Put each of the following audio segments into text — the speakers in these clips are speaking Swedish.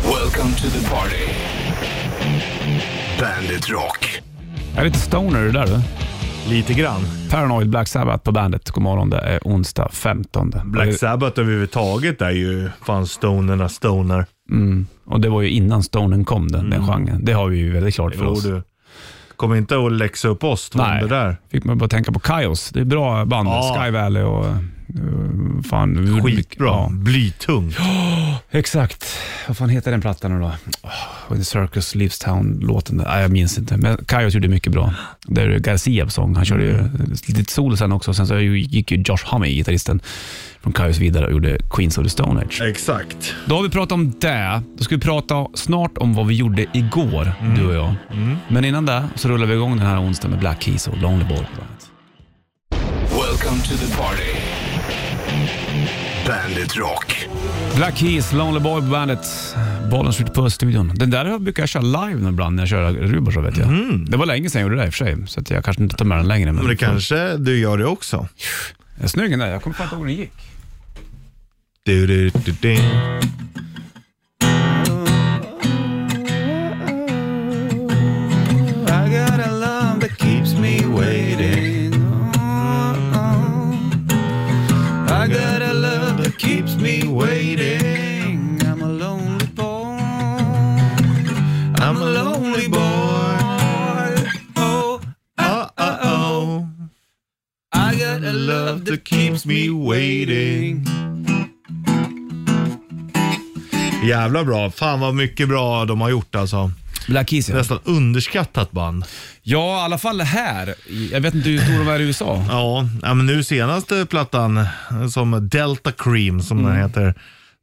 Welcome to the party. Bandit Rock. Jag är lite stoner det där du. Lite grann. Paranoid Black Sabbath på bandet. God morgon, det är onsdag 15. Black Sabbath överhuvudtaget är ju fan stonerna stoner. Mm. Och det var ju innan stonen kom, den, den genren. Det har vi ju väldigt klart för Mm. Jo oss. du. Kom inte att läxa upp oss om Nej. det där. Fick man bara tänka på Kaios. Det är bra band. Ja. Sky Valley och... eh, fan, Skitbra. Ja, Blytung. exakt. Vad fan heter den plattan nu då? Oh, The Circus Leaves Town-låten. där. Nej, jag minns inte. Men Kaios gjorde mycket bra. Det är ju Garcia på sång. Han körde Mm. ju lite solo sen också. Sen så gick ju Josh Homme, gitarristen från Kaios, vidare och gjorde Queens of the Stone Age. Exakt. Då har vi pratat om det. Då ska vi prata snart om vad vi gjorde igår, Mm. du och jag. Men innan det så rullar vi igång den här onsdagen med Black Keys och Lonely Ball på bandet. Welcome to the party. Bandit Rock. Black Keys, Lonely Boy på bandet. Bollen skjuter på studion. Den där brukar jag köra live ibland när jag kör Rubers, vet jag. Mm. Det var länge sedan jag gjorde det i och för sig, så att jag kanske inte tar med den längre. Men Men det kanske du gör det också. Jag är snygg den där. Jag kommer fan inte ihåg hur den gick. Du, du, du, du. I got a love that keeps me waiting. Oh, I got a love that keeps me waiting. I'm a lonely boy. I'm a lonely boy. Oh, Ah, ah, ah. I got a love that keeps me waiting. Jävla bra. Fan vad mycket bra de har gjort alltså. Black Keys ja. Nästan underskattat band. Ja, i alla fall här. Jag vet inte hur stora de är i USA. Ja, ja, men nu senaste plattan eh, som Delta Cream som Mm. den heter.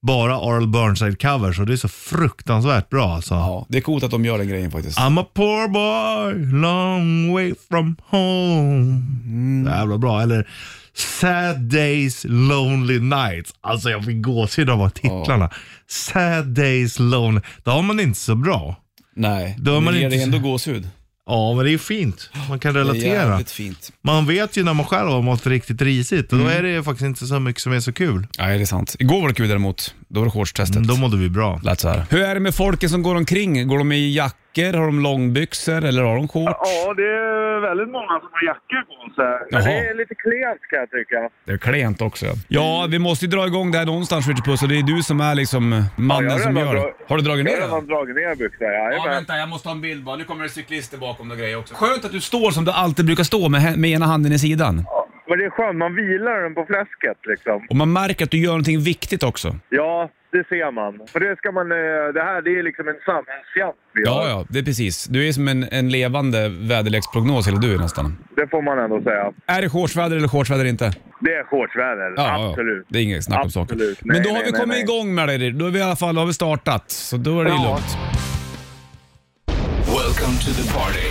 Bara Arl Burnside covers och det är så fruktansvärt bra alltså. Ja, det är coolt att de gör den grejen faktiskt. I'm a poor boy long way from home. Mm. Jävla bra. Eller Sad Days Lonely Nights. Alltså jag fick gåshud av titlarna. Sad Days Lonely. Det har man inte så bra. Nej, Då är men man det ger inte- dig ändå gåshud. Ja, men det är fint. Man kan Det är relatera. jävligt fint. Man vet ju när man själv har mått riktigt risigt och då Mm. är det faktiskt inte så mycket som är så kul. Nej, det är sant. Igår var det kul däremot. Då var det shortstestet. Då mådde vi bra. Lät så här. Hur är det med folket som går omkring? Går de i jackor, har de långbyxor eller har de shorts? Ja, det är väldigt många som har jackor på sig. Men Jaha. det är lite klent kan jag tycka. Det är klent också. Ja, vi måste ju dra igång det här någonstans Ritchie och Det är du som är liksom mannen Ja, jag har som redan gör det. dra- Har du dragit Jag ner har den? redan dragit ner byxorna, Ja, jajamän. vänta, jag måste ha en bild bara. Nu kommer det cyklister bakom och grejer också. Skönt att du står som du alltid brukar stå med, hä- med ena handen i sidan. Men det är skönt, man vilar den på fläsket liksom. Och man märker att du gör någonting viktigt också. Ja, det ser man. För det ska man, eh, det här det är liksom en samhällsjakt vi har. Ja, ja, det är precis. Du är som en, en levande väderleksprognos, eller du är nästan. Det får man ändå säga. Är det shortsväder eller shortsväder inte? Det är shortsväder, absolut. Det är inget snack om saken. Absolut. Men Nej, då har nej, vi nej, kommit nej. igång med det. Då är vi i alla fall då har vi startat, så då är det Ja. lugnt. Welcome to the party.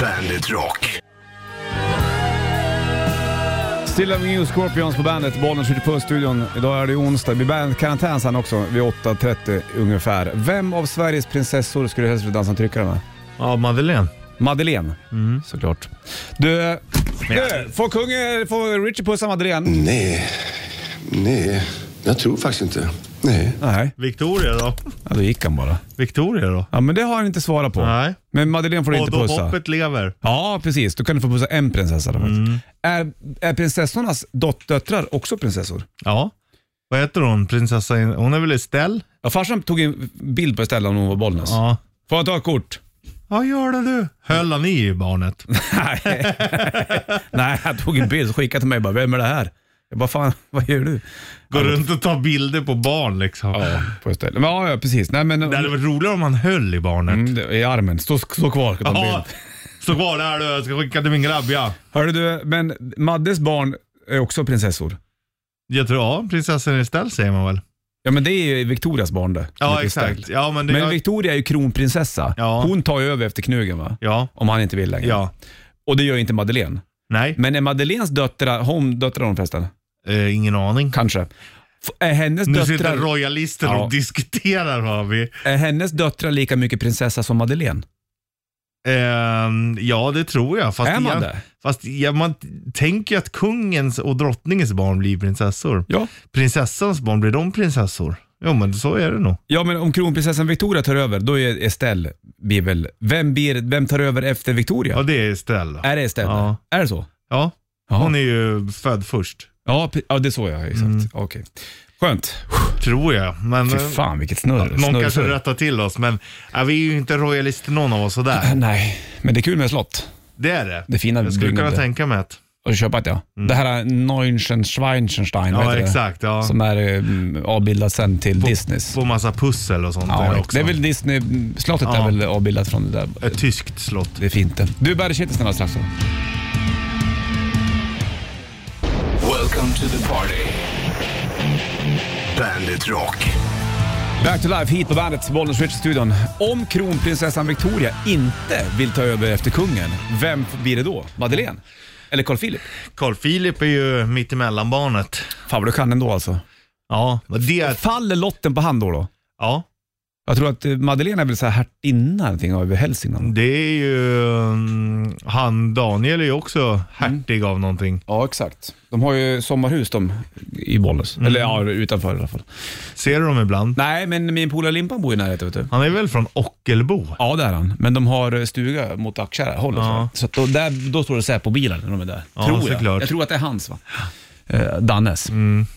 Bandit Rock. Still Loving You, Scorpions på bandet, bollen skjuter på studion. Idag är det onsdag. Vi bär karantän sen också, vid 8.30 ungefär. Vem av Sveriges prinsessor skulle du helst vilja dansa en tryckare med? Ja, Madeleine. Madeleine, Mm. såklart. Du, du får, kungen, får Richie pussa Madeleine? Nej, nej, jag tror faktiskt inte. Nej. Nej, Victoria då? ja, då gick han bara. Victoria då? Ja, men det har han inte svarat på. Nej. Men Madeleine får du inte Och då pussa. hoppet Mm. lever. Ja, precis. Då kan du få pussa en prinsessa då, faktiskt. Är, är prinsessornas dot- döttrar också prinsessor? Ja. Vad heter hon? Prinsessa... Hon är väl Estelle? Ja, farsan tog en bild på Estella när hon var Bollnäs. Ja. Får jag ta ett kort? Ja, gör det du. Höll han i barnet? Nej. Nej, han tog en bild och skickade till mig bara, vem är det här? Jag bara, fan vad gör du? Går runt och tar bilder på barn liksom. Ja, på Estella. Men, ja, ja, precis. Nej, men, Det hade varit roligare om han höll i barnet. Mm, det- I armen, stå, stå kvar. Ska ta en Ja, bild. stå kvar där du. Jag ska skicka till min grabb ja. Hörru du, men Maddes barn är också prinsessor. Jag tror, ja, prinsessan Estelle säger man väl? Ja men det är ju Victorias barn det. Ja, Mycket exakt. starkt. Ja, men det... Men Victoria är ju kronprinsessa. Ja. Hon tar ju över efter knugen va? ja, Om han inte vill längre. ja. Och det gör inte Madeleine. Nej, Men är Madeleines döttrar, hon döttrar hon förresten? eh, ingen aning. Kanske. F- Är hennes, Nu sitter döttrar, royalister Ja. och diskuterar har vi. är hennes döttrar lika mycket prinsessa som Madeleine? Ehm, ja, det tror jag. Fast Är man jag, det? Fast jag, man t- tänker ju att kungens och drottningens barn blir prinsessor. Ja. Prinsessans barn, blir de prinsessor? Jo, men så är det nog. Ja, men om kronprinsessan Victoria tar över, då är Estelle blir väl... Vem, blir, vem tar över efter Victoria? Ja, det är Estelle. Är det Estelle? Ja. Är det så? Ja, Ja. hon är ju född först. Ja, pe- ja det såg jag. Exakt. Okej. Skönt. Tror jag. Mm. Men, Fy eh, fan vilket snurr. någon snurr, kanske snurr. rättar till oss, men ja, vi är ju inte royalister någon av oss sådär. Nej, men det är kul med slott. Det är det. Det fina jag skulle kunna byggnader. tänka mig att... Och köpa ett ja. Det här Neuenschweinstein, vad Mm. Ja, heter exakt. Ja. det? Som är eh, avbildat sen till Disneys. Få massa pussel och sånt där Ja, också. det är väl Disney, slottet Ja. är väl avbildat från det där. Ett tyskt slott. Det är fint det. Du, Bergkittelsen alldeles strax då. Welcome to the party. Bandit Rock. Back to life, hit på bandet, Bollnäs Rich studion Om kronprinsessan Victoria inte vill ta över efter kungen, vem blir det då? Madeleine? Eller Carl Philip? Carl Philip är ju mittemellan barnet. Fan vad du kan ändå alltså. Ja, men det... Faller lotten på han då? då? Ja, Jag tror att eh, Madeleine är väl så här hertinna någonting av Hälsingland? det är ju... mm, Han Daniel är ju också hertig av någonting. Ja, exakt. De har ju sommarhus de i Bollnäs. Mm. Eller ja, utanför i alla fall. Ser du dem ibland? Nej, men min polare Limpan bor i närheten vet du. Han är väl från Ockelbo? Ja, det är han. Men de har eh, stuga mot Aktiarhållet. Ja. Så att då, där, då står det Säpo-bilar när de är där. Ja, tror jag. såklart. Mm. Jag tror att det är hans va? Eh, Dannes.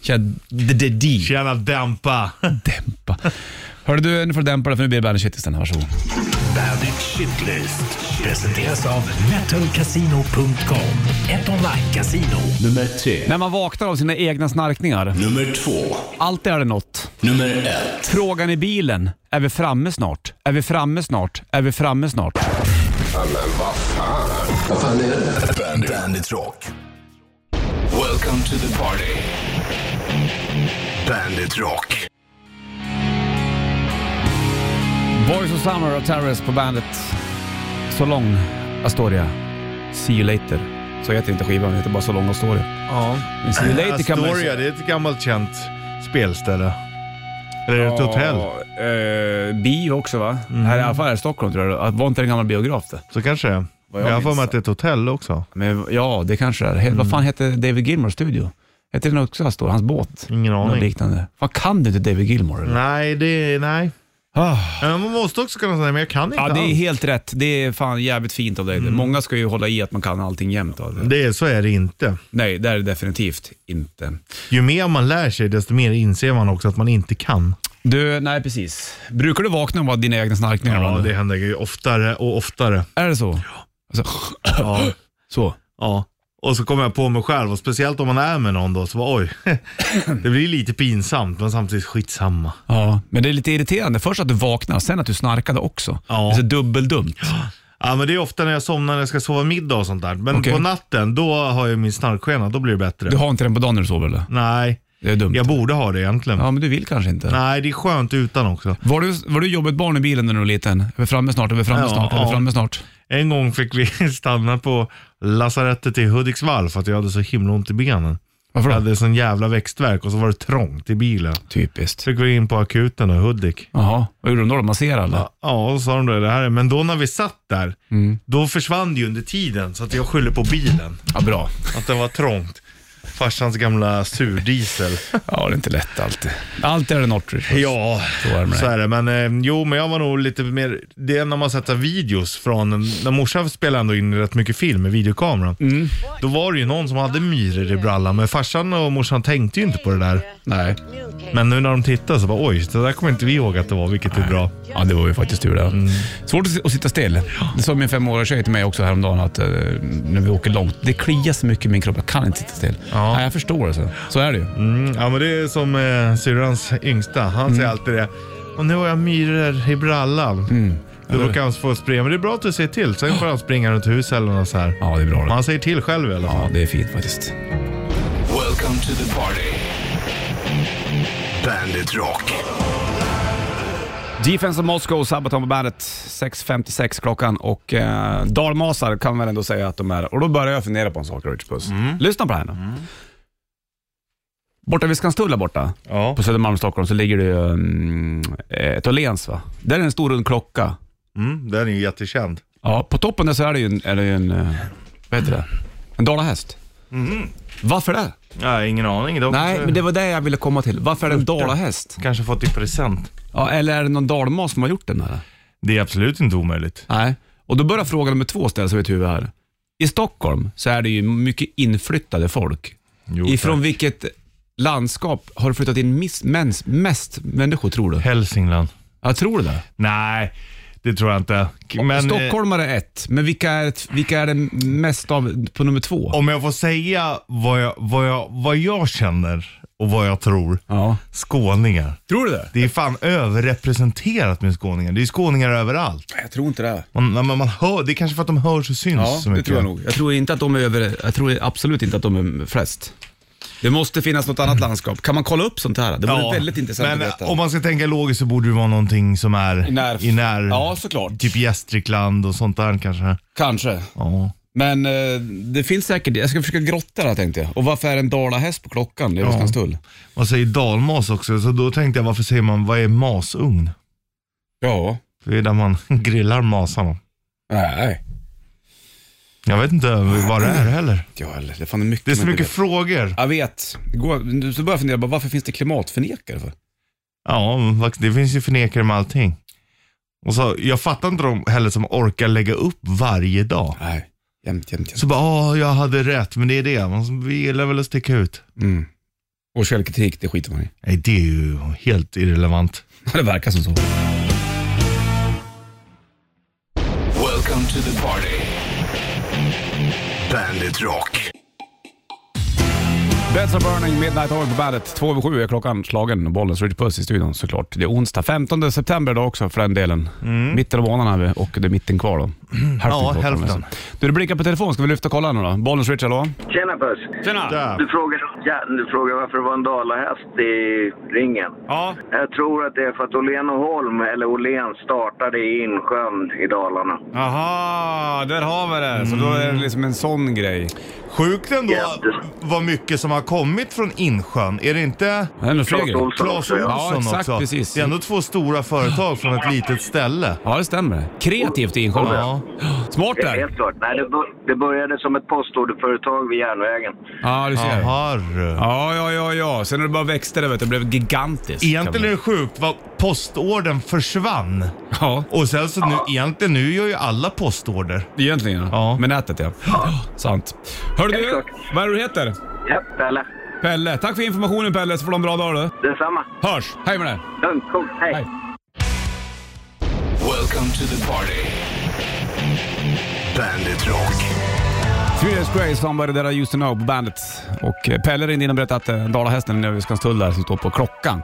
Känn the, the D. Tjena dämpa! Dämpa. Hörru du, nu får du dämpa det för nu blir det Bandit Shitlisten. Varsågod. Bandit Shitlist presenteras av metalcasino.com. Ett online-casino. Nummer tre. När man vaknar av sina egna snarkningar, Nummer två. alltid är det något. Nummer ett. Frågan i bilen, är vi framme snart? Är vi framme snart? Är vi framme snart? Vad fan är det? Bandit, Bandit Rock. Welcome to the party. Bandit Rock. Boys of Summer och Terrorist på bandet. Så lång Astoria. See you later. Så heter inte skivan, den heter bara Så lång Astoria. Ja. Men See you later kan man ju Astoria, säga. det är ett gammalt känt spelställe. Eller ett hotell. Mm. Ja, eh, bio också va? Här i alla fall här i Stockholm tror jag. Var inte det en gammal biograf det? Så kanske det är. Vad Men jag Jag har för minns. mig att det är ett hotell också. Men, ja, det kanske det är. He- Mm. Vad fan hette David Gilmores studio? Hette den också Astoria? Hans båt? Ingen Något aning. liknande. Fan, kan du inte David Gilmore? Eller? Nej, det nej. Ah. Men man måste också kunna säga, men jag kan inte Ja, det är allt. helt rätt. Det är fan jävligt fint av dig. Många ska ju hålla i att man kan allting jämt. Av det. Mm. det är, så är det inte. Nej, det är det definitivt inte. Ju mer man lär sig, desto mer inser man också att man inte kan. Du, nej precis. Brukar du vakna av dina egna snarkningar? Ja, ibland? det händer ju oftare och oftare. Är det så? Alltså, Ja. så. ja. Och så kommer jag på mig själv, och speciellt om man är med någon då, så bara, oj. det blir lite pinsamt, men samtidigt skitsamma. Ja, men det är lite irriterande. Först att du vaknar, sen att du snarkade också. Ja. Det är så dubbeldumt. Ja, men det är ofta när jag somnar när jag ska sova middag och sånt där. Men Okej. på natten, då har jag min snarkskena. Då blir det bättre. Du har inte den på dagen när du sover eller? Nej, Det är dumt. jag borde ha det egentligen. Ja, men du vill kanske inte. Nej, det är skönt utan också. Var du, var du jobbigt barn i bilen när du var liten? Är vi framme snart? Är vi framme Ja, snart? Är ja. vi framme snart? En gång fick vi stanna på lasarettet i Hudiksvall för att jag hade så himla ont i benen. Varför Jag då? hade sån jävla växtverk och så var det trångt i bilen. Typiskt. Så fick vi in på akuten och Hudik. Jaha, vad gjorde de då? De Masserade eller? Ja, och så sa de det, det här. är- Men då när vi satt där, då försvann det ju under tiden. Så att jag skyller på bilen, Ja, bra. att den var trångt. Farsans gamla surdiesel. Ja, det är inte lätt alltid. Allt är en Nortridge. Ja, Så är det med så det. är det. Men eh, jo, men jag var nog lite mer, det är när man sätter videos från, när morsan spelade ändå in rätt mycket film med videokameran. Då var det ju någon som hade myror i brallan, men farsan och morsan tänkte ju inte på det där. Nej. Men nu när de tittar så bara oj, det där kommer inte vi ihåg att det var, vilket är bra. Ja, det var ju Mm. faktiskt tur det. Svårt att, att sitta still. Det sa min femåriga tjej till mig också häromdagen att eh, när vi åker långt, det kliar så mycket i min kropp. Jag kan inte sitta still. Ja. Nej, jag förstår det. Så, så är det ju. Mm, ja, men det är som eh, syrrans yngsta, han Mm. säger alltid det. Och nu har jag myror i brallan. Då brukar han få springa, men det är bra att du säger till. Sen får han springa runt huset eller något så här. Ja, det är bra Men det. han säger till själv i alla fall. Ja, det är fint faktiskt. Welcome to the party. Bandit Rock. Defense of Moscow, Sabaton på bandet. 6.56 klockan och eh, dalmasar kan man väl ändå säga att de är. Och då börjar jag fundera på en sak, Rich Puss. Lyssna på det här nu. Borta vid Skanstull där borta, Ja. på Södermalm i Stockholm, så ligger det ju mm, ett Åhléns va? Där är en stor rund klocka. Mm, den är ju jättekänd. Ja, på Mhm. toppen där så är det ju en, är det ju en eh, vad heter det? En dalahäst. Varför det? Nej, ingen aning. De Nej, kanske- men det var det jag ville komma till. Varför är det en dalahäst? Kanske fått i present. Ja, eller är det någon dalmas som har gjort den? Eller? Det är absolut inte omöjligt. Nej. Och då börjar fråga nummer två ställas i mitt huvud här. I Stockholm så är det ju mycket inflyttade folk. Jo, Ifrån tack. vilket landskap har det flyttat in miss, mens, mest människor tror du? Hälsingland. Jag tror du det? Nej, det tror jag inte. K- Men, eh, Stockholmare är ett, men vilka är, ett- vilka är det mest av på nummer två? Om jag får säga vad jag, vad, jag, vad jag känner och vad jag tror. Ja. Skåningar. Tror du det? Det är fan överrepresenterat med skåningar. Det är skåningar överallt. Jag tror inte det. Man, man, man hör, det är kanske för att de hörs och syns Ja, det så mycket. tror jag nog. Jag tror, inte att de är över, jag tror absolut inte att de är flest. Det måste finnas något annat landskap. Kan man kolla upp sånt här? Det vore väldigt intressant men att veta. om man ska tänka logiskt så borde det vara någonting som är I när- i när Ja, såklart. typ Gästrikland och sånt där kanske. Kanske. Ja. Men eh, det finns säkert, jag ska försöka grotta det här tänkte jag. Och varför är det en dalahäst på klockan i Roslagstull? Man säger dalmas också, så då tänkte jag varför säger man, vad är masugn? Ja. Det är där man grillar masarna. Nej. Jag vet inte vad det är heller. Ja, eller, det är fan mycket Det är så man inte mycket frågor. vet. Jag vet. Det Går, så börjar jag fundera, bara, varför finns det klimatförnekare för? Ja, det finns ju förnekare med allting. Och så, jag fattar inte de heller som orkar lägga upp varje dag. Nej, jämt, jämt, jämt. Så bara, ja, jag hade rätt, men det är det. Man så- vi gillar väl att sticka ut. Mm. Och källkritik, det skiter man i. Nej, det är ju helt irrelevant. det verkar som så. Welcome to the party. Bandit Rock. Beds are burning, Midnight Oil på bandet. Två över sju är klockan slagen. Bollens Ridge Puss i studion såklart. Det är onsdag 15 september idag också för den delen. Mitten av månaden är vi och det är mitten kvar då. Hälften Mm. Ja, kvar, hälften. kan man säga. Du, det blinkar på telefon. Ska vi lyfta och kolla nu då? Bollens Ridge, hallå? Tjena Puss! Tjena! Där. Du frågar, ja, du frågar varför det var en dalahäst i ringen. Ja, Jag tror att det är för att Åhlén och Holm, eller Åhlén, startade i Insjön i Dalarna. Aha, där har vi det. Så då Mm. är det liksom en sån grej. sjukt ändå Jätte- vad mycket som har kommit från Insjön. Är det inte Det är nog fler Claes grejer. Olsson Clas också, ja. Ja, Ohlson exakt, också? precis. Det är ändå två stora företag från ett litet ställe. Ja, det stämmer. Kreativt i Insjön. Ja. Smart Det är där. helt klart. Nej, det, bör, det började som ett postorderföretag vid järnvägen. Ja, du ser. Jaha. du. Ja, ja, ja, ja. Sen när det bara växte det, vet du, det blev gigantiskt. Egentligen är det sjukt vad postorden försvann. Ja, Och sen så nu, egentligen nu gör ju alla postorder. egentligen. Ja. Ja. Med nätet ja. Sant. Hör du, vad är det du heter? Ja, eller? Pelle. Tack för informationen Pelle, så får du ha en bra dag du. Detsamma. Hörs! Hej med dig! Lugnt, coolt. Hej. Hej. Welcome to the party. Bandit Rock. Three Days Grace, Somebody That I Used To Know på bandet. Och eh, Pelle ringde in och berättade att eh, dalahästen nere vid Skanstull där som står på klockan.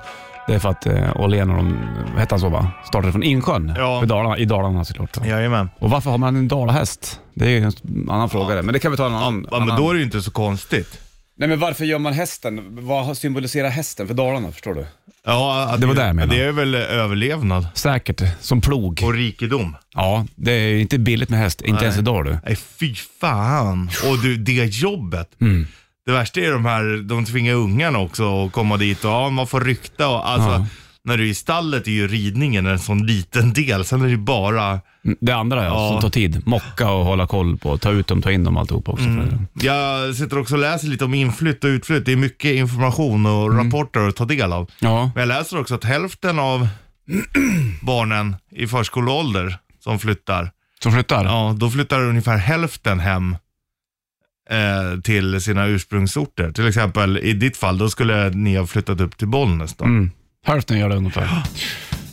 Det är för att eh, Åhlén och de, hette han så va? Startade från Insjön Ja. För Dalarna, i Dalarna såklart. Jajamän. Och varför har man en dalahäst? Det är ju en annan fråga det, men det kan vi ta en annan. Ja, men annan- då är det ju inte så konstigt. Nej men varför gör man hästen? Vad symboliserar hästen för Dalarna? Förstår du? Ja, att Det var det jag menade. Det är väl överlevnad Säkert, som plog. och rikedom. Ja, det är ju inte billigt med häst. Inte ens idag du. Nej, fy fan. Och du, det jobbet. Mm. Det värsta är de här, de tvingar ungarna också att komma dit och ja, man får rykta och alltså. Ja. När du är i stallet är ju ridningen en sån liten del, sen är det ju bara... Det andra ja, Ja. som tar tid. Mocka och hålla koll på. Ta ut dem, ta in dem alltihopa också. Mm. Jag sitter också och läser lite om inflytt och utflytt. Det är mycket information och Mm. rapporter att ta del av. Ja. Men jag läser också att hälften av barnen i förskoleålder som flyttar, Som flyttar? ja, då flyttar ungefär hälften hem eh, till sina ursprungsorter. Till exempel i ditt fall, då skulle ni ha flyttat upp till Bollnäs då. Mm. Hälften gör det ungefär.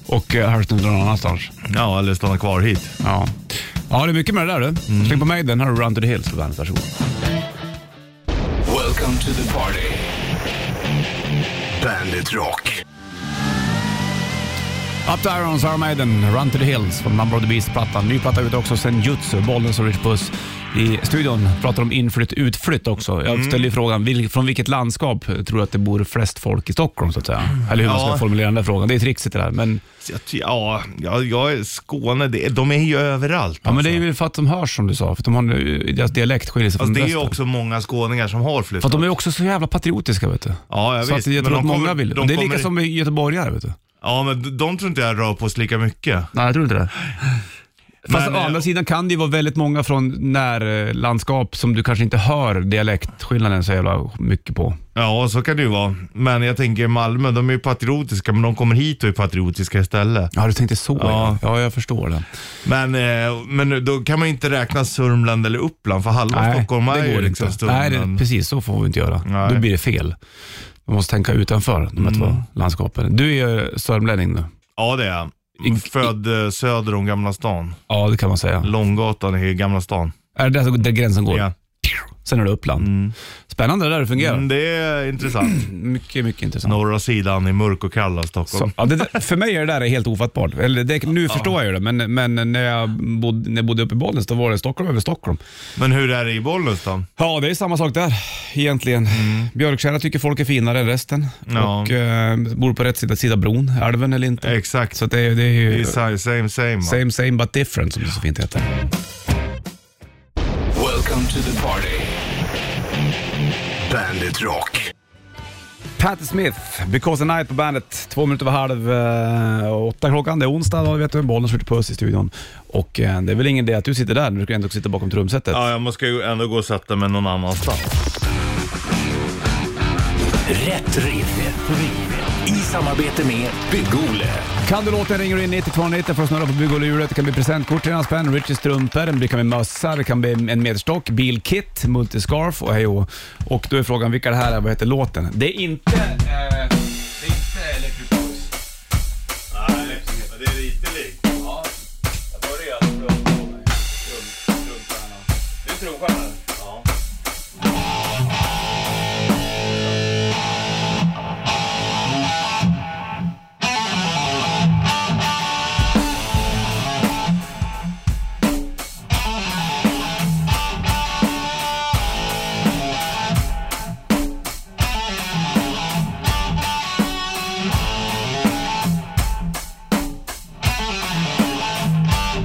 Och eh, hälften drar någon annanstans. Ja, eller stanna kvar hit. Ja. ja, det är mycket med det där du. Mm. Släng på mig den här Run to the Hills på bandet. Varsågod. Welcome to the party. Bandit Rock. Up to Irons, Iron Maiden, Run to the Hills från Number of the Beast-plattan. Ny platta ute också, Senjutsu, Bollnäs och Rich Puss. I studion pratar om inflytt utflytt också. Mm. Jag ställer ju frågan, vil- från vilket landskap tror du att det bor flest folk i Stockholm så att säga? Eller hur man ska Mm. Ja. formulera den där frågan. Det är trixigt det där. Men, Så jag ty- Ja, jag, jag är Skåne, det, de är ju överallt. ja, men det är ju för att de hörs som du sa, för att de har, en- eh, deras dialekt skiljer sig Alltså, från det är ju resten. också många skåningar som har För flyttat. att de är också så jävla patriotiska vet du. Ja, jag så visst. att jag Men tror de att många kommer- vill. de det är lika kommer- som med göteborgare vet du. Ja, men de tror inte jag rör på sig lika mycket. Nej, jag tror inte det. Fast Men, å eh, andra sidan kan det ju vara väldigt många från närlandskap som du kanske inte hör dialektskillnaden så jävla mycket på. Ja, så kan det ju vara. Men jag tänker Malmö, de är ju patriotiska, men de kommer hit och är patriotiska istället. Ja, du tänkte så. ja. ja jag förstår det. Men, eh, men då kan man ju inte räkna Sörmland eller Uppland, för halva Stockholm är ju liksom Nej, det, Sörmland. precis så får vi inte göra. Nej. Mm. Då blir det fel. Man måste tänka utanför de här två landskapen. Du är ju sörmlänning nu. Ja, det är jag. Mm. Född eh, söder om Gamla stan. Ja, det kan man säga. Långgatan i Gamla stan. Är det där, där gränsen går? Ja. Sen är det Uppland. Spännande det där det fungerar. Mm, det är intressant. Mycket, mycket intressant. Norra sidan i mörk och kalla Stockholm. Så, ja, det, där- för mig är det där helt ofattbart. Eller det, nu förstår jag ju det, men, men när, jag bodde, när jag bodde uppe i Bollnäs då var det Stockholm över Stockholm. Men hur är det i Bollnäs då? Ja, det är samma sak där egentligen. Björkkära tycker folk är finare än resten Mm. Ja. och eh, bor på rätt sida, sida bron, älven eller inte. Exakt. Så att det, är- det är Det ju är sa- same same. va? same same but different som det så fint heter. Welcome to the party. Bandit Rock. Patti Smith, Because the Night på bandet. Två minuter över halv eh, åtta klockan. Det är onsdag, då vet du. Bollen skjuter puss i studion. Och eh, det är väl ingen idé att du sitter där, du ska ändå sitta bakom trumsetet. Ja, jag måste ju ändå gå och sätta mig någon annanstans. Rätt riff. Rätt riff. I samarbete med Bygg-Ole. Kan du låten ringer du in 9290 för att snurra på bygg och hjulet. Det kan bli presentkort till en spänn, Richies strumpor, det kan bli mössa, det kan bli en meterstock, bilkit, multiscarf och hej och Och då är frågan vilka det här är, vad heter låten? Det är inte... Eh, det är inte Electric Box. Nej, det är lite likt. Ja, jag börjar strumpa på mig. Strumpstjärna. Du är trumstjärna? Ja.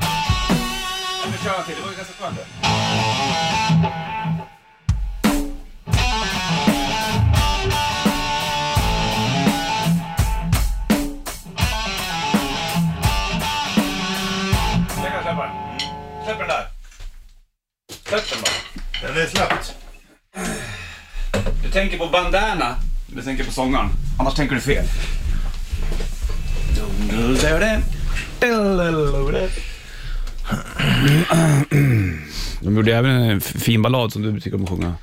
Jag får köra till, det var ju ganska skönt det. Jag kan släppa den. Släpp den där. Släpp den bara. Den är släppt. Du tänker på bandana. Du tänker på sångaren. Annars tänker du fel. De gjorde även en f- fin ballad som du tycker om att sjunga.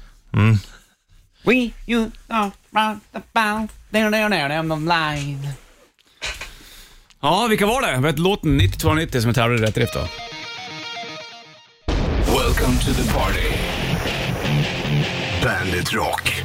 We, you are round about, there, there, there, on the line. Ja, vilka var det? Vad hette låten 9290 som jag tävlade i rätt drift då? Welcome to the party. Bandit Rock.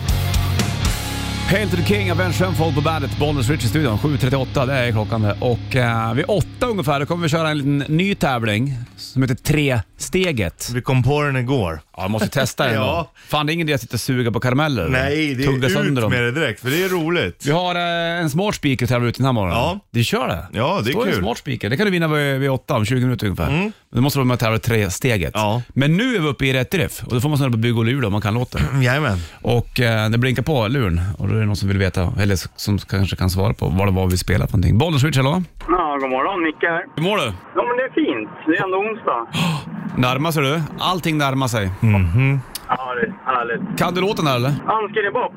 Hail to the King, Avenged Sevenfold på bandet, Bollnäs Rich i studion. 7.38, det är klockan det. Och eh, vid åtta ungefär, då kommer vi köra en liten ny tävling som heter Tre-steget. Vi kom på den igår. Ja, jag måste testa den Ja. då. Fan, det är ingen idé att sitta och suga på karameller. Nej, det är Tugga ut sönder dem. med det direkt, för det är roligt. Vi har eh, en smart speaker att tävla ut den här morgonen. Ja. Du kör det? Ja, det är Står en kul. Mm. smart speaker. Det kan du vinna vid, vid åtta, om 20 minuter ungefär. Men då måste du vara med och tävla i tre-steget. Ja. Men nu är vi uppe i rätt riff och då får man snurra på bygg och lur då, om man kan låten. Jajamän. Och eh, det blinkar på luren och då är det någon som vill veta, eller s- som kanske kan svara på vad det var vi spelar för någonting. Bollen switch, hallå? Ja, god morgon. Micke här. Hur mår du? Ja, men det är fint. Det är ändå onsdag. Närmar sig du? Allting närmar sig. Ja, det är härligt. Kan du låten här eller? Anskinny Bob.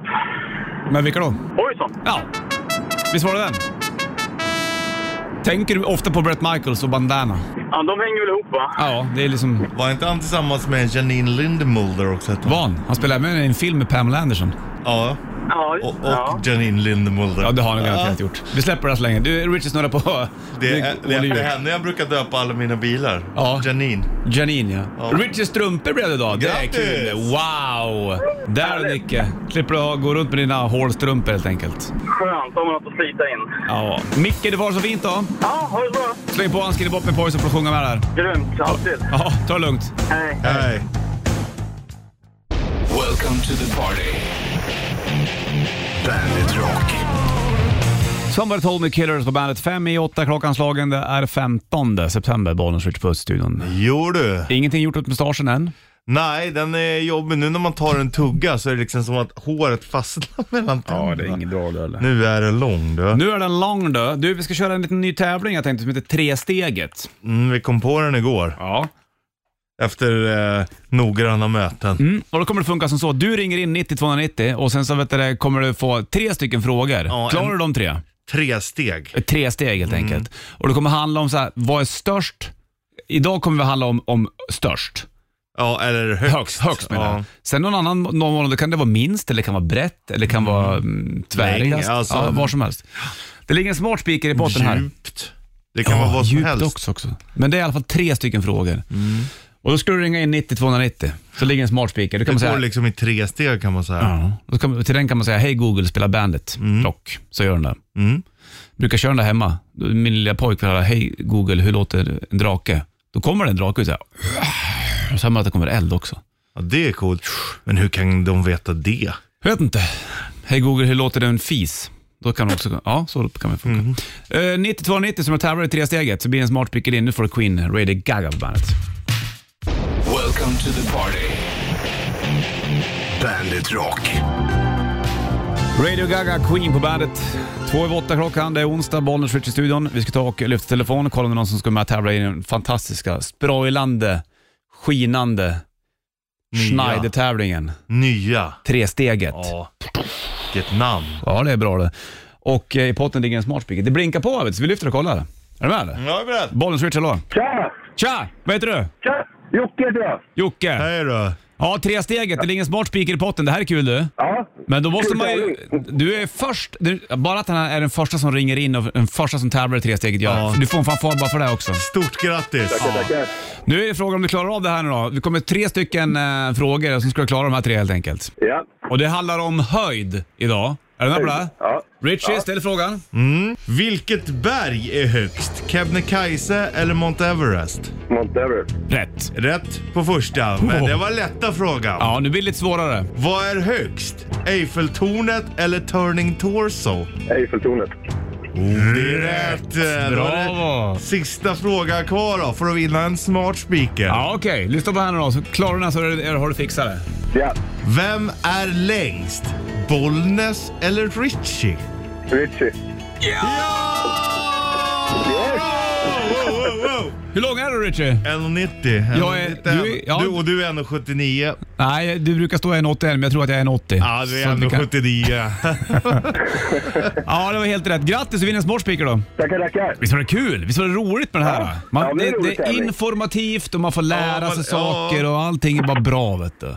Men vilka då? Hojsan. Ja, visst var det den? Tänker du ofta på Brett Michaels och Bandana? Ja, de hänger väl ihop, va? Ja, det är liksom Var inte han tillsammans med Janine Lindemulder också? Va? van. Han spelar även i en film med Pamela Anderson. Ja, Ja, och, och ja. Janine Lindemulder. Ja, det har han garanterat gjort. Vi släpper det här så länge. Du, Richard snurrar på... Det är, det är, Oliver. det är henne jag brukar döpa alla mina bilar. Ja. Janine. Janine ja. Ja. Richie strumpor blev det idag. Det är Grattis! kul. Wow! Där du Nicke. Slipper du ha- gå runt med dina hålstrumpor helt enkelt. Skönt. Då har man något att slita in. Ja. Micke, det var så fint då. Ja, ha det bra. Släng på handsken i botten med pojsen för att sjunga med där. Grymt. Alltid. Ja, ta det lugnt. Hej. Hej. Welcome to the party. Bandit Rock. Somebody told me killers på bandet. Fem i åtta klockan slagen. Det är 15 september. Bollnäs Rich Puss-studion. Jo du. Ingenting gjort åt mustaschen än. Nej, den är jobbig. Nu när man tar en tugga så är det liksom som att håret fastnar mellan tänderna. Ja, det är inget bra det heller. Nu är den lång du. Nu är den lång då. Du, vi ska köra en liten ny tävling jag tänkte som heter Tresteget. Mm, vi kom på den igår. Ja. Efter eh, noggranna möten. Mm. Och då kommer det funka som så. Du ringer in 90-290 och sen så vet du, det, kommer du få tre stycken frågor. Ja, Klarar en- du Mm. de tre? Tre steg. Ett Tre steg helt enkelt. Och det kommer handla om så här, vad är störst? Idag kommer vi handla om, om störst. Ja, eller högst. Högst, högst menar ja. jag. Sen någon annan någon månad, då kan det vara minst, eller det kan vara brett, eller det kan vara mm, tvärgast. Läng, alltså- ja, var som helst. Det ligger en smart speaker i botten här. Djupt. Det kan vara vad som djupt helst. Mm. Också, också. Men det är i alla fall tre stycken frågor. Och då ska du ringa in 90 290, så ligger en smart speaker. Då kan man Det går säga, liksom i tre steg kan man säga. ja, Mm. då kan, till den kan man säga, hej Google, spela bandet. Plock, så gör den det. Mm. Brukar köra den där hemma. Då- Min lilla pojk vill höra, hej Google, hur låter en drake? Då kommer det en drake och säger, och så hör man att det kommer eld också. Ja, det är coolt. Men hur kan de veta det? Jag vet inte. Hej Google, hur låter det en fis? Då kan man också, ja, så kan det funka. Mm. 9290 som jag tävlar i tre steget så blir det en smart speaker in. Nu får du Queen, Lady Gaga på bandet. Welcome to the party. Bandit Rock. Radio Gaga, Queen på bandet. Två över åtta klockan, det är onsdag, Bollnäs Rich i studion. Vi ska ta och lyfta telefonen och kolla om det är någon som ska med och tävla i den fantastiska, sproilande, skinande Nya. Schneider-tävlingen. Nya. Tresteget. Ja. Vilket namn. Ja, det är bra det. Och eh, i potten ligger en smart speaker. Det blinkar på, vet du, så vi lyfter och kollar. Är du med eller? Jag är beredd. Bollnäs Rich, hallå? Tja! Tja! Vad heter du? Tja! Jocke heter jag. Jocke. Hej då. Ja, tre steget. Det ligger en smart speaker i potten. Det här är kul du. Ja. Men då måste Kul man ju... Du är först. Du, bara att han är den första som ringer in och den första som tävlar i tre steget gör. Ja. Du får en fanfar bara för det också. Stort grattis. Tackar. Nu är det frågan om du klarar av det här nu då. Det kommer tre stycken eh, frågor som ska du klara de här tre helt enkelt. Ja. Och det handlar om höjd idag. Är du med på det? här? Ja. Richie, ställ frågan. Vilket berg är högst? Kebnekaise eller Mount Everest? Montever. Rätt. Rätt på första, men det var lätta frågan. Ja, nu blir det lite svårare. Vad är högst? Eiffeltornet eller Turning Torso? Oh, Eiffeltornet. Det är rätt! Då är Bravo. det Sista frågan kvar då, för att vinna en smart speaker. Ja, okej. Lyssna på här nu då. Så klarar du den här så är det- har du fixat det. Ja. Vem är längst? Bollnäs eller Richie? Richie. Wow, wow, wow. Hur lång är du Richie? 1,90. Jag är- 1,91. du är- ja. du, och du är 1,79. Nej, du brukar stå 1,81 men jag tror att jag är 1,80. Ja, du Så är att vi kan- 1,79. Ja, det var helt rätt. Grattis, du vinner en sportspiker då. Tackar, tackar. Visst var det kul? Visst var det roligt med det här? Man, Ja, men det det, är det, roligt, är Henrik. informativt och man får lära Ja, sig man- saker ja. och allting är bara bra vet du.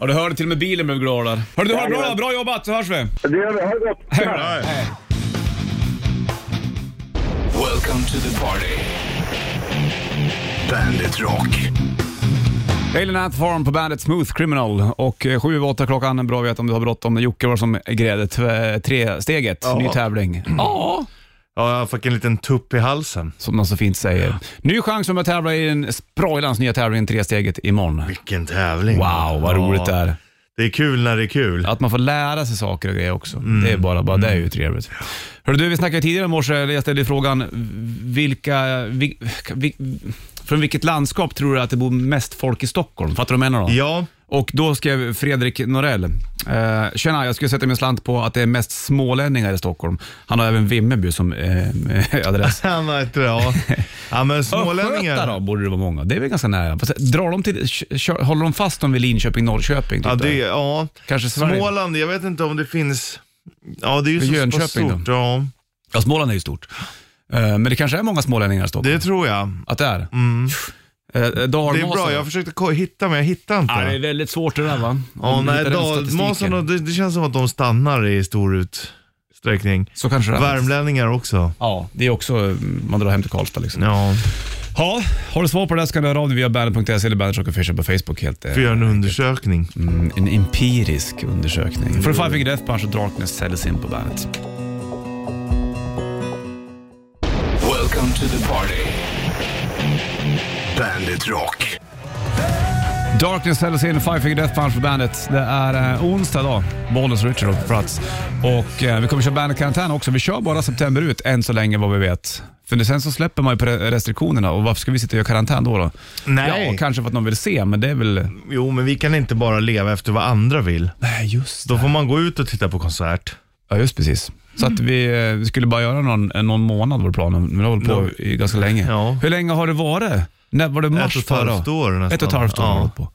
Ja, du hörde till och med bilen blev glad där. Hörru du, ha det bra då. Bra jobbat så hörs vi. Det gör vi. Ha det gott. Hej då. Ja. Hej. Welcome to the party. Bandit Rock. Alien Ant Farm på bandet Smooth Criminal och eh, sju över åtta klockan. Bra att veta om du har bråttom. Jocke var som grädde tv- tre steget. Ny tävling. Ja. ja, jag fick en liten tupp i halsen. Som man så fint säger. Ny chans om att tävla i den sprojlans nya tävling Tresteget imorgon. Vilken tävling. Wow, vad roligt det Ja, är. Det är kul när det är kul. Att man får lära sig saker och grejer också. Mm. Det är bara, bara det är ju trevligt. Hörru du, vi snackade tidigare i morse, eller jag ställde frågan, vilka, vi, vi, från vilket landskap tror du att det bor mest folk i Stockholm? Fattar du vad jag menar då? Ja, Och då skrev Fredrik Norell, eh, tjena, jag skulle sätta min slant på att det är mest smålänningar i Stockholm. Han har även Vimmerby som eh, adress. han har ett ja. ja, men Östgöta smålänningar. då borde det vara många. Det är väl ganska nära. Fast Drar de till, kö- kö- håller de fast dem vid Linköping, Norrköping? Typ Ja, där? det, ja. Kanske Sverige? Småland, jag vet inte om det finns... Ja, det är ju För så så pass Jönköping då? stort. Ja, Ja, Småland är ju stort. Eh, Men det kanske är många smålänningar i Stockholm. det tror jag. Att det är? Mm. Det är bra, jag försökte ko- hitta men jag hittade inte. det är väldigt svårt det där va? Ja, Om du nej, hittar den statistiken. dalmasarna, det, det känns som att de stannar i stor utsträckning. Så kanske det är. Värmlänningar också. Ja, det är också, mm, man drar hem till Karlstad liksom. Ja, Ja, har du svar på det här så kan du höra av dig via bandet.se eller bandet Rock Official på Facebook. Helt, eh, för att göra en undersökning. mm, en empirisk undersökning. För Five Finger Death Punch och Darkness säljs in på bandet. Welcome to the party. Bandit Rock. Darkness säljs in, Five Finger Death Punch på bandet. Det är eh, onsdag idag. Bollnäs Richard är på plats. Och eh, vi kommer köra bandet-karantän också. Vi kör bara september ut än så länge vad vi vet. För sen så släpper man ju på re- restriktionerna och varför ska vi sitta och göra karantän då? då? Nej. Ja, kanske för att någon vill se, men det är väl... Jo, men vi kan inte bara leva efter vad andra vill. Nej, just Då får man gå ut och titta på konsert. Ja, just precis. Så att vi eh, skulle bara göra någon, eh, någon månad var planen, men det har hållit på Nå- i ganska länge. Ja. Hur länge har det varit? När var det mars Ett och ett halvt förra? år nästan. Ett och ett halvt år Ja. har det hållit på.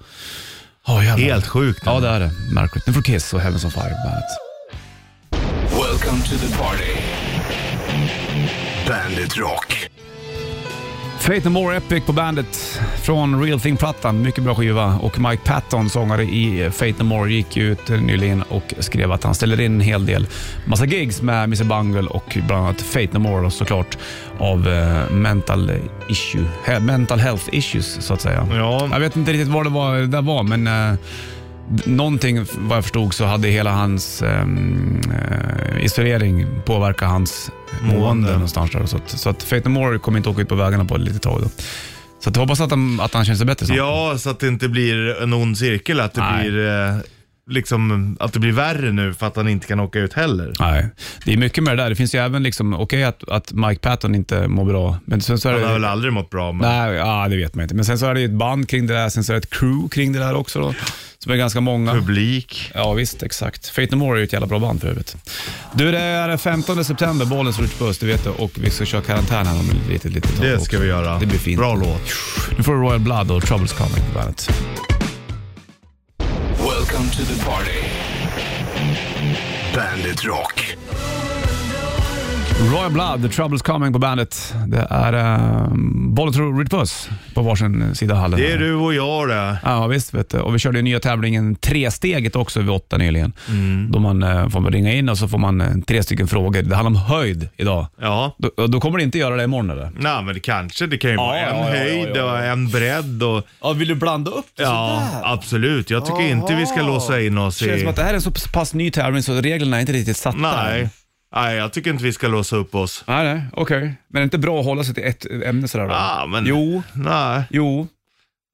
Ja, jävlar. Helt sjukt. Ja, det är det. Märkligt. Nu får Kiss och Heavens on Fire bandet. Welcome to the party. Bandit Rock. Fate No More Epic på bandet från Real Thing-plattan. Mycket bra skiva. Och Mike Patton, sångare i Fate No More, gick ju ut nyligen och skrev att han ställer in en hel del massa gigs med Mr Bungle och bland annat Fate No More då, såklart av eh, mental, issue, he, mental health issues så att säga. Ja. Jag vet inte riktigt vad det, var, det där var, men eh, d- någonting f- vad jag förstod så hade hela hans ehm, eh, isolering påverkat hans mående Mående. någonstans där. Så att, så att Fate No More kommer inte åka ut på vägarna på ett litet tag. Då. Så att jag hoppas att han, att han känner sig bättre snart. Ja, så att det inte blir en ond cirkel. Att det Nej. blir eh, liksom, att det blir värre nu för att han inte kan åka ut heller. Nej, det är mycket med det där. Det finns ju även liksom, okej att, att Mike Patton inte mår bra, men sen så är Han har det... väl aldrig mått bra. Men... Nej, ja, det vet man inte. Men sen så är det ju ett band kring det där, sen så är det ett crew kring det där också då, som är ganska många. Publik. Ja visst, exakt. Fate No More är ju ett jävla bra band för övrigt. Du, det är den 15 september, bollen slår ut på öst, du vet det. Och vi ska köra karantän här om ett litet, litet tag Det också. ska vi göra. Det blir fint. Bra låt. Nu får du Royal Blood och Troubles Coming på bandet. Welcome to the party. Bandit Rock. Royal Blood, The Troubles Coming på bandet. Det är um, bollen slår ut på öst på varsin sida av hallen. Det är du och jag det. Ja visst, vet du. och vi körde ju nya tävlingen Tresteget också vid åtta nyligen. Mm. Då man eh, får man ringa in och så får man eh, tre stycken frågor. Det handlar om höjd idag. Ja. Då, då kommer det inte göra det imorgon eller? Nej men det kanske, det kan ju vara ja, en ja, ja, höjd ja. och en bredd och... Ja, vill du blanda upp det Ja, absolut. Jag tycker inte vi ska låsa in oss Det Ah. känns som i... att det här är en så pass ny tävling så reglerna är inte riktigt satta. Nej. Nej, jag tycker inte vi ska låsa upp oss. Nej, nej, okej. Men det är inte bra att hålla sig till ett ämne sådär då? Ah, men... Jo, Nej, jo.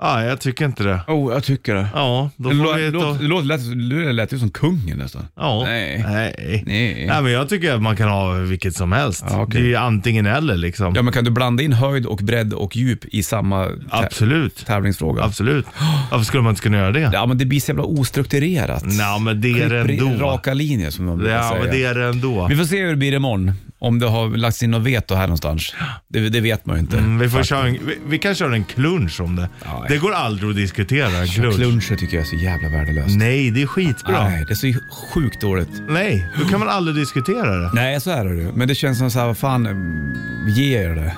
nej jag tycker inte det. Jo, jag tycker det. Ja, då Det får vi lå- ta... låt- det låter lätt- det lät ju som kungen nästan. Ja. Nej. Nej. Nej. Nej, men jag tycker att man kan ha vilket som helst. Ja, okej. Det är ju antingen eller liksom. Ja, men kan du blanda in höjd och bredd och djup i samma tä- Absolut. tävlingsfråga? Absolut. Varför skulle man inte kunna göra det? Ja, men det blir så jävla ostrukturerat. Nej, men det är det Klipper i ändå. Raka linjer som de brukar Ja, säga. men det är det ändå. Vi får se hur det blir imorgon. Om det har lagts in något veto här någonstans. Det, det vet man ju inte. Mm, Vi, får köra en, vi, vi kan köra en klunch om det. Ja, det går aldrig att diskutera en klunch. Kluncher tycker jag är så jävla värdelöst. Nej, det är skitbra. Nej. Nej, det är så sjukt dåligt. då kan man aldrig diskutera det. Nej, så är det ju. Men det känns som så här, vad fan, mm, ge er det.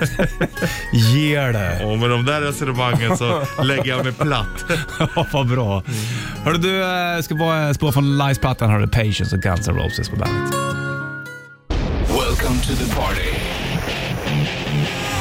ge er det. Och med de där resonemangen så lägger jag mig platt. Ja, vad bra. Hörru du, eh, ska bara eh, spå från Lice-plattan har du Patience och Guns N' Roses på bandet. Welcome to the party.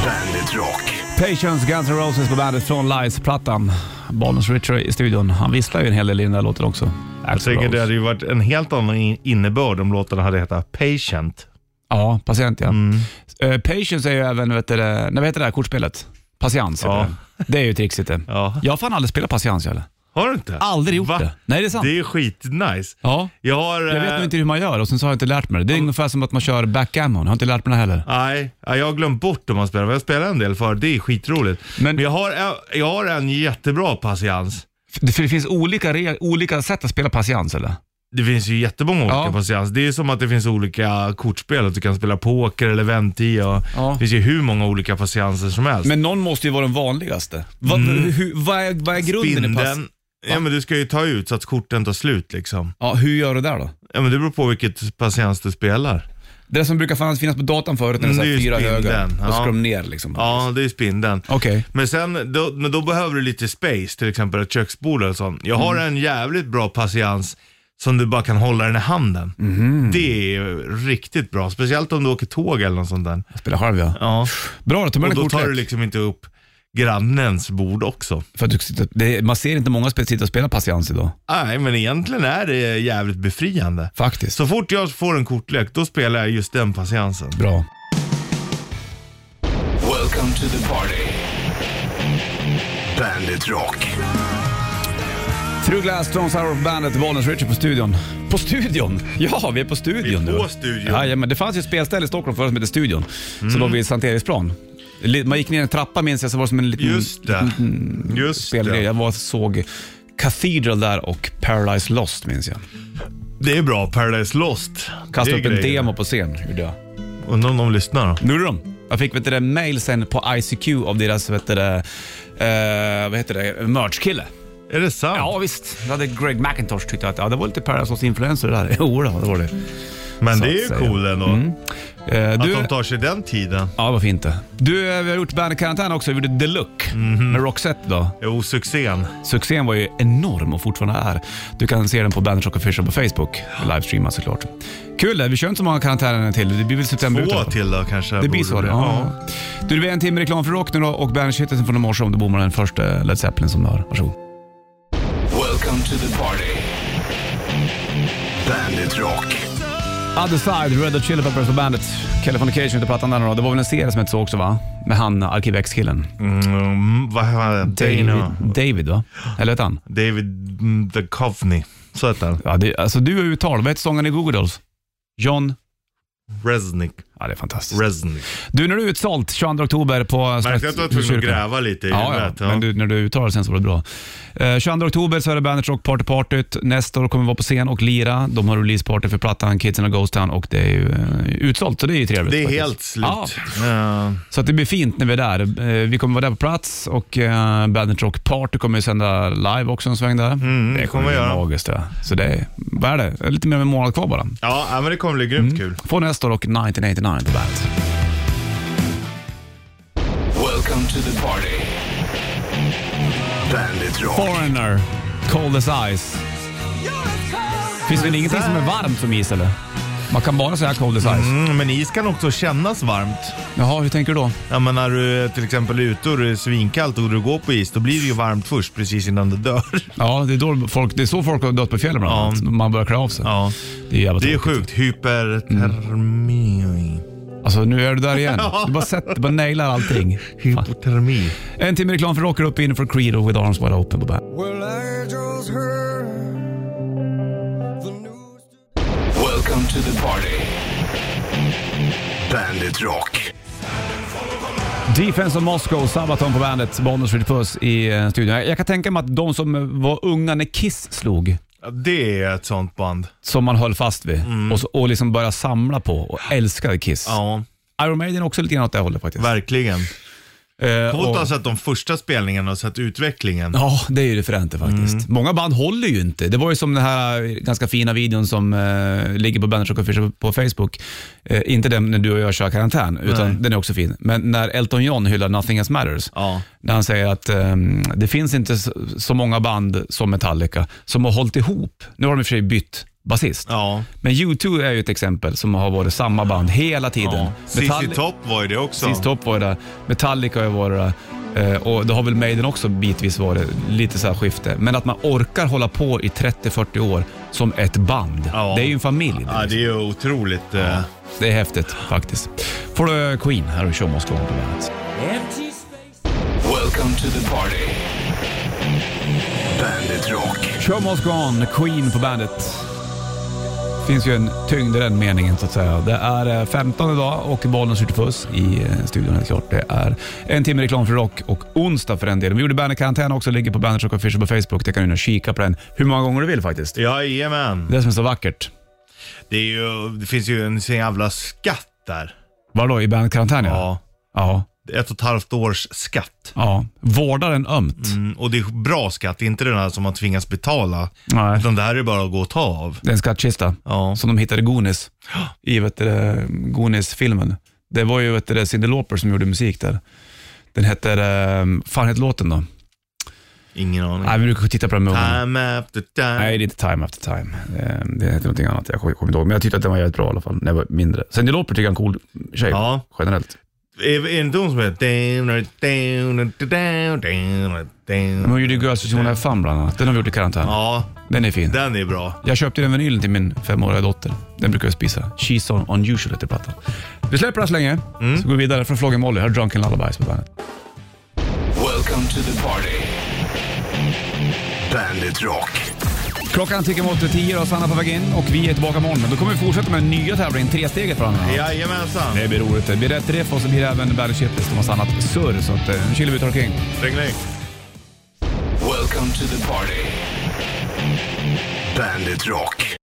Bandit Rock. Patience, Guns N' Roses på bandet från Lice-plattan. Bonus Richard i studion. Han visslar ju en hel del i den där låten också. Jag tänker det hade ju varit en helt annan in- innebörd om låtarna hade hetat Patient. Ja, patient ja. Mm. Eh, patience är ju även, vet du, det- nej, vad heter det här kortspelet? Patiens heter Ja. det. Det är ju trixigt det. Ja. Jag har fan aldrig spelat patiens heller. Har du inte? Aldrig gjort Va? det. Nej, det är sant. Det är skitnice. Ja. Jag har... Jag vet eh, nog inte hur man gör och sen så har jag inte lärt mig det. Det är ungefär som att man kör backgammon. Jag har inte lärt mig det heller. Nej, ja, jag har glömt bort hur man spelar, men jag spelar en del för det är skitroligt. Men- Men, jag, har, en- jag har en jättebra patiens. Det, för det finns olika, re- olika sätt att spela patiens eller? Det finns ju jättemånga olika Ja. patiens. Det är som att det finns olika kortspel, att du kan spela poker eller venti och Ja. det finns ju hur många olika patienser som helst. Men någon måste ju vara den vanligaste. Vad, hur, vad, är, vad är grunden i patiens? Mm. Spindeln, ja men du ska ju ta ut så att korten tar slut liksom. Ja, hur gör du där då? Ja men det beror på vilket patiens du spelar. Det där som brukar fan finnas på datan förut när det är så Mm, Det är här ju fyra höger. spindeln, Då ja. ska de ner liksom. Ja, det är spindeln. Okej. Men sen, då, men då behöver du lite space, till exempel ett köksbord eller sånt. Jag har en jävligt bra patiens som du bara kan hålla den i handen. Det är riktigt bra, speciellt om du åker tåg eller något sånt där. Spela halv ja. Ja. Bra då, ta med Och en då tar du kortlek. liksom inte upp grannens bord också. För att du sitter, det, man ser inte många spel sitta och spela patiens idag. Nej, men egentligen är det jävligt befriande. Faktiskt. Så fort jag får en kortlek, då spelar jag just den patiensen. Bra. Welcome to the party. Bandit Rock. Through Glass, Stones Hour of Bandet, Bollnäs Richard på studion. På studion? Ja, vi är på studion Vi är på nu. studion. Mm. Ja, men det fanns ju ett spelställe i Stockholm förut som hette Studion. Så låg vid Sankt Eriksplan. Li- Man gick ner en trappa minns jag, så var det som en liten Just Mm, det. Just spelgrej. det. Jag var, såg Cathedral där och Paradise Lost minns jag. Det är bra. Paradise Lost. Det Kastade är upp en grejer. demo på scen, gjorde jag. Undrar om de lyssnar då. Nu är de. Jag fick vet du, det, mail sen på ICQ av deras vet du, det, eh, vad heter det, merch-kille. Är det sant? Ja visst, då hade Greg McIntosh tyckt att ja, det var lite Paradise Lost-influenser det där. Jo, då, det var det. Men så det är att ju säga. coolt ändå. Eh, Att du, de tar sig den tiden. Ja, varför inte? Du, eh, vi har gjort bandkarantän också. Vi gjorde Deluxe Mhm. med Roxette då. Jo, succén. Succén var ju enorm och fortfarande är. Du kan se den på Bandit Rock Official på Facebook. Livestreamad såklart. Kul, vi kör inte så många karantäner till. Det blir väl september ut i alla Två fall. till då kanske. Det borde blir så det. Ja. Du, det blir en timme reklam för rock nu då och Bandit-kittelsen från i morse om du bommar den första Led Zeppelin som du har. Varsågod. Welcome to the party. Bandit Rock. Other Side, Red Hot Chili Peppers och Bandet. Californication heter plattan där nu då. Det var väl en serie som hette så också va? Med han Arkiv X-killen. Mm, vad heter han? Dana. David, David va? Eller hette han? David mm, the Coveney. Så heter han. Ja, det, alltså du är uttal. Vad heter sångaren i Google Dolls? John... Resnick. Ja, det är fantastiskt. Resnick. Du, när du är utsålt 22 oktober på Märkte att du var tvungen att gräva lite i Ja, ja, huvudet? men du, när du uttalar sen så var det bra. Eh, 22 oktober så är det Bandit Rock Party Partyt. Nästa år kommer vi vara på scen och lira. De har releaseparty för plattan Kids in a Ghost Town och det är ju eh, utsålt, så det är ju trevligt. Det är faktiskt. helt slut. Ja, Ja. så att det blir fint när vi är där. Eh, Vi kommer vara där på plats och eh, Bandit Rock Party kommer ju sända live också en sväng där. Mm, det kommer vi bli göra. magiskt det. Så det är, vad är det? Lite mer än en månad kvar bara. Ja, ja, men det kommer bli Mm. grymt kul. Från Östor och 1989 på bandet. Welcome to the party. Bandit Rock. Foreigner, Cold as Ice. Finns det väl ingenting som är varmt som is eller? Man kan bara säga Cold as Ice. Mm, men is kan också kännas varmt. Jaha, hur tänker du då? Ja, men när du till exempel är ute och det är svinkallt och du går på is, då blir det ju varmt först precis innan det dör. Ja, det är, då folk, det är så folk har dött på fjällen bland Ja. annat. Man börjar klä av sig. Ja. Det är jävligt Det är tråkigt. sjukt. Hypertermi. Alltså nu är du där igen. Du bara sätter, du bara nailar allting. Fan. Hypotermi. En timme reklam för Rocker upp inför Creed och With Arms Wide Open på bandet. Well, I just heard the news. Welcome to the party. Bandit Rock. Defense of Moscow, Sabaton på bandet, Bonus Ritchie Puss i eh, studion. Jag jag kan tänka mig att de som eh, var unga när Kiss slog, Ja, Det är ett sånt band. som man höll fast vid och, så, och liksom började samla på och älskade Kiss. Mm. Ja, Iron Maiden också lite grann åt det hållet faktiskt. verkligen. Eh, Coolt att ha och, sett de första spelningarna och sett utvecklingen. ja, det är ju det föränta faktiskt. Mm. Många band håller ju inte. Det var ju som den här ganska fina videon som eh, ligger på Bandage och Fisher på Facebook. Eh, inte den när du och jag kör karantän, utan den är också fin. Men när Elton John hyllar Nothing Else Matters, Ja. när han säger att ehm, det finns inte så, så många band som Metallica som har hållit ihop. Nu har de i och för sig bytt basist. Ja. Men U2 är ju ett exempel som har varit samma band hela tiden. ja. ZZ Top var ju det också. ZZ Top var ju där, Metallica har ju varit där eh, och det har väl Maiden också bitvis varit, lite så här skifte. Men att man orkar hålla på i 30-40 år som ett band. Ja. Det är ju en familj. Ja, det är ju otroligt. eh, Det är häftigt faktiskt. Får du eh, Queen här och Show Must Go On på bandet. Welcome to the party. Bandit Rock. Show Must Go On, Queen på bandet. finns ju en tyngd i den meningen så att säga. Det är eh, 15 idag och bollen skjuter puss i eh, studion helt klart. Det är en timme reklam för rock och onsdag för den delen. Vi gjorde Bandet Karantän också, ligger på Bandet Rock Official på Facebook. Det kan du in och kika på den hur många gånger du vill faktiskt. Det Jajamän. är det som är så vackert. Det, är ju, det finns ju en sån jävla skatt där. Vadå, i Bandet Karantän ja. Ja. Ja. Ett och ett halvt års skatt. ja. Vårda den ömt. Mm, och det är bra skatt, inte den här som man tvingas betala. Nej. Utan det här är bara att gå och ta av. Det är en skattkista Ja. som de hittade i Goonies, i vet du det, Goonies-filmen. Det var ju vet du det, Cyndi Lauper som gjorde musik där. Den heter, eh, fan heter låten då? Ingen aning. Nej, vi brukar titta på den med ögonen. Time after time. Nej, det är inte Time After Time. Eh, Det heter någonting annat. Jag kommer kommer inte ihåg. Men jag tyckte att den var jävligt bra i alla fall när jag var mindre. Cyndi Lauper tycker jag är en cool tjej, Ja. generellt. Är, är det inte hon som heter... down, down, down, down, down. Men hon gjorde ju Girls with Jonah Fan bland annat. Den har vi gjort i karantän. Ja, Den är fin. den är bra. Jag köpte den vinylen till min femåriga dotter. Den brukar jag spisa. She's on unusual heter plattan. Mm. Vi släpper den så länge, så går vi vidare från Flogging Molly. Här är Drunken Lullabies på bandet. Welcome to the party. Bandit Rock. Klockan tickar mot tio och Sanna på väg in och vi är tillbaka imorgon. Då kommer vi fortsätta med nya tävling, tresteget fram. Jajamensan. Det blir roligt. Det blir rätt riff och så blir det även Bandit Shitlist och massa annat surr. Så att, eh, nu kyler vi och King. Ring, ring. Welcome to the party. Bandit Rock.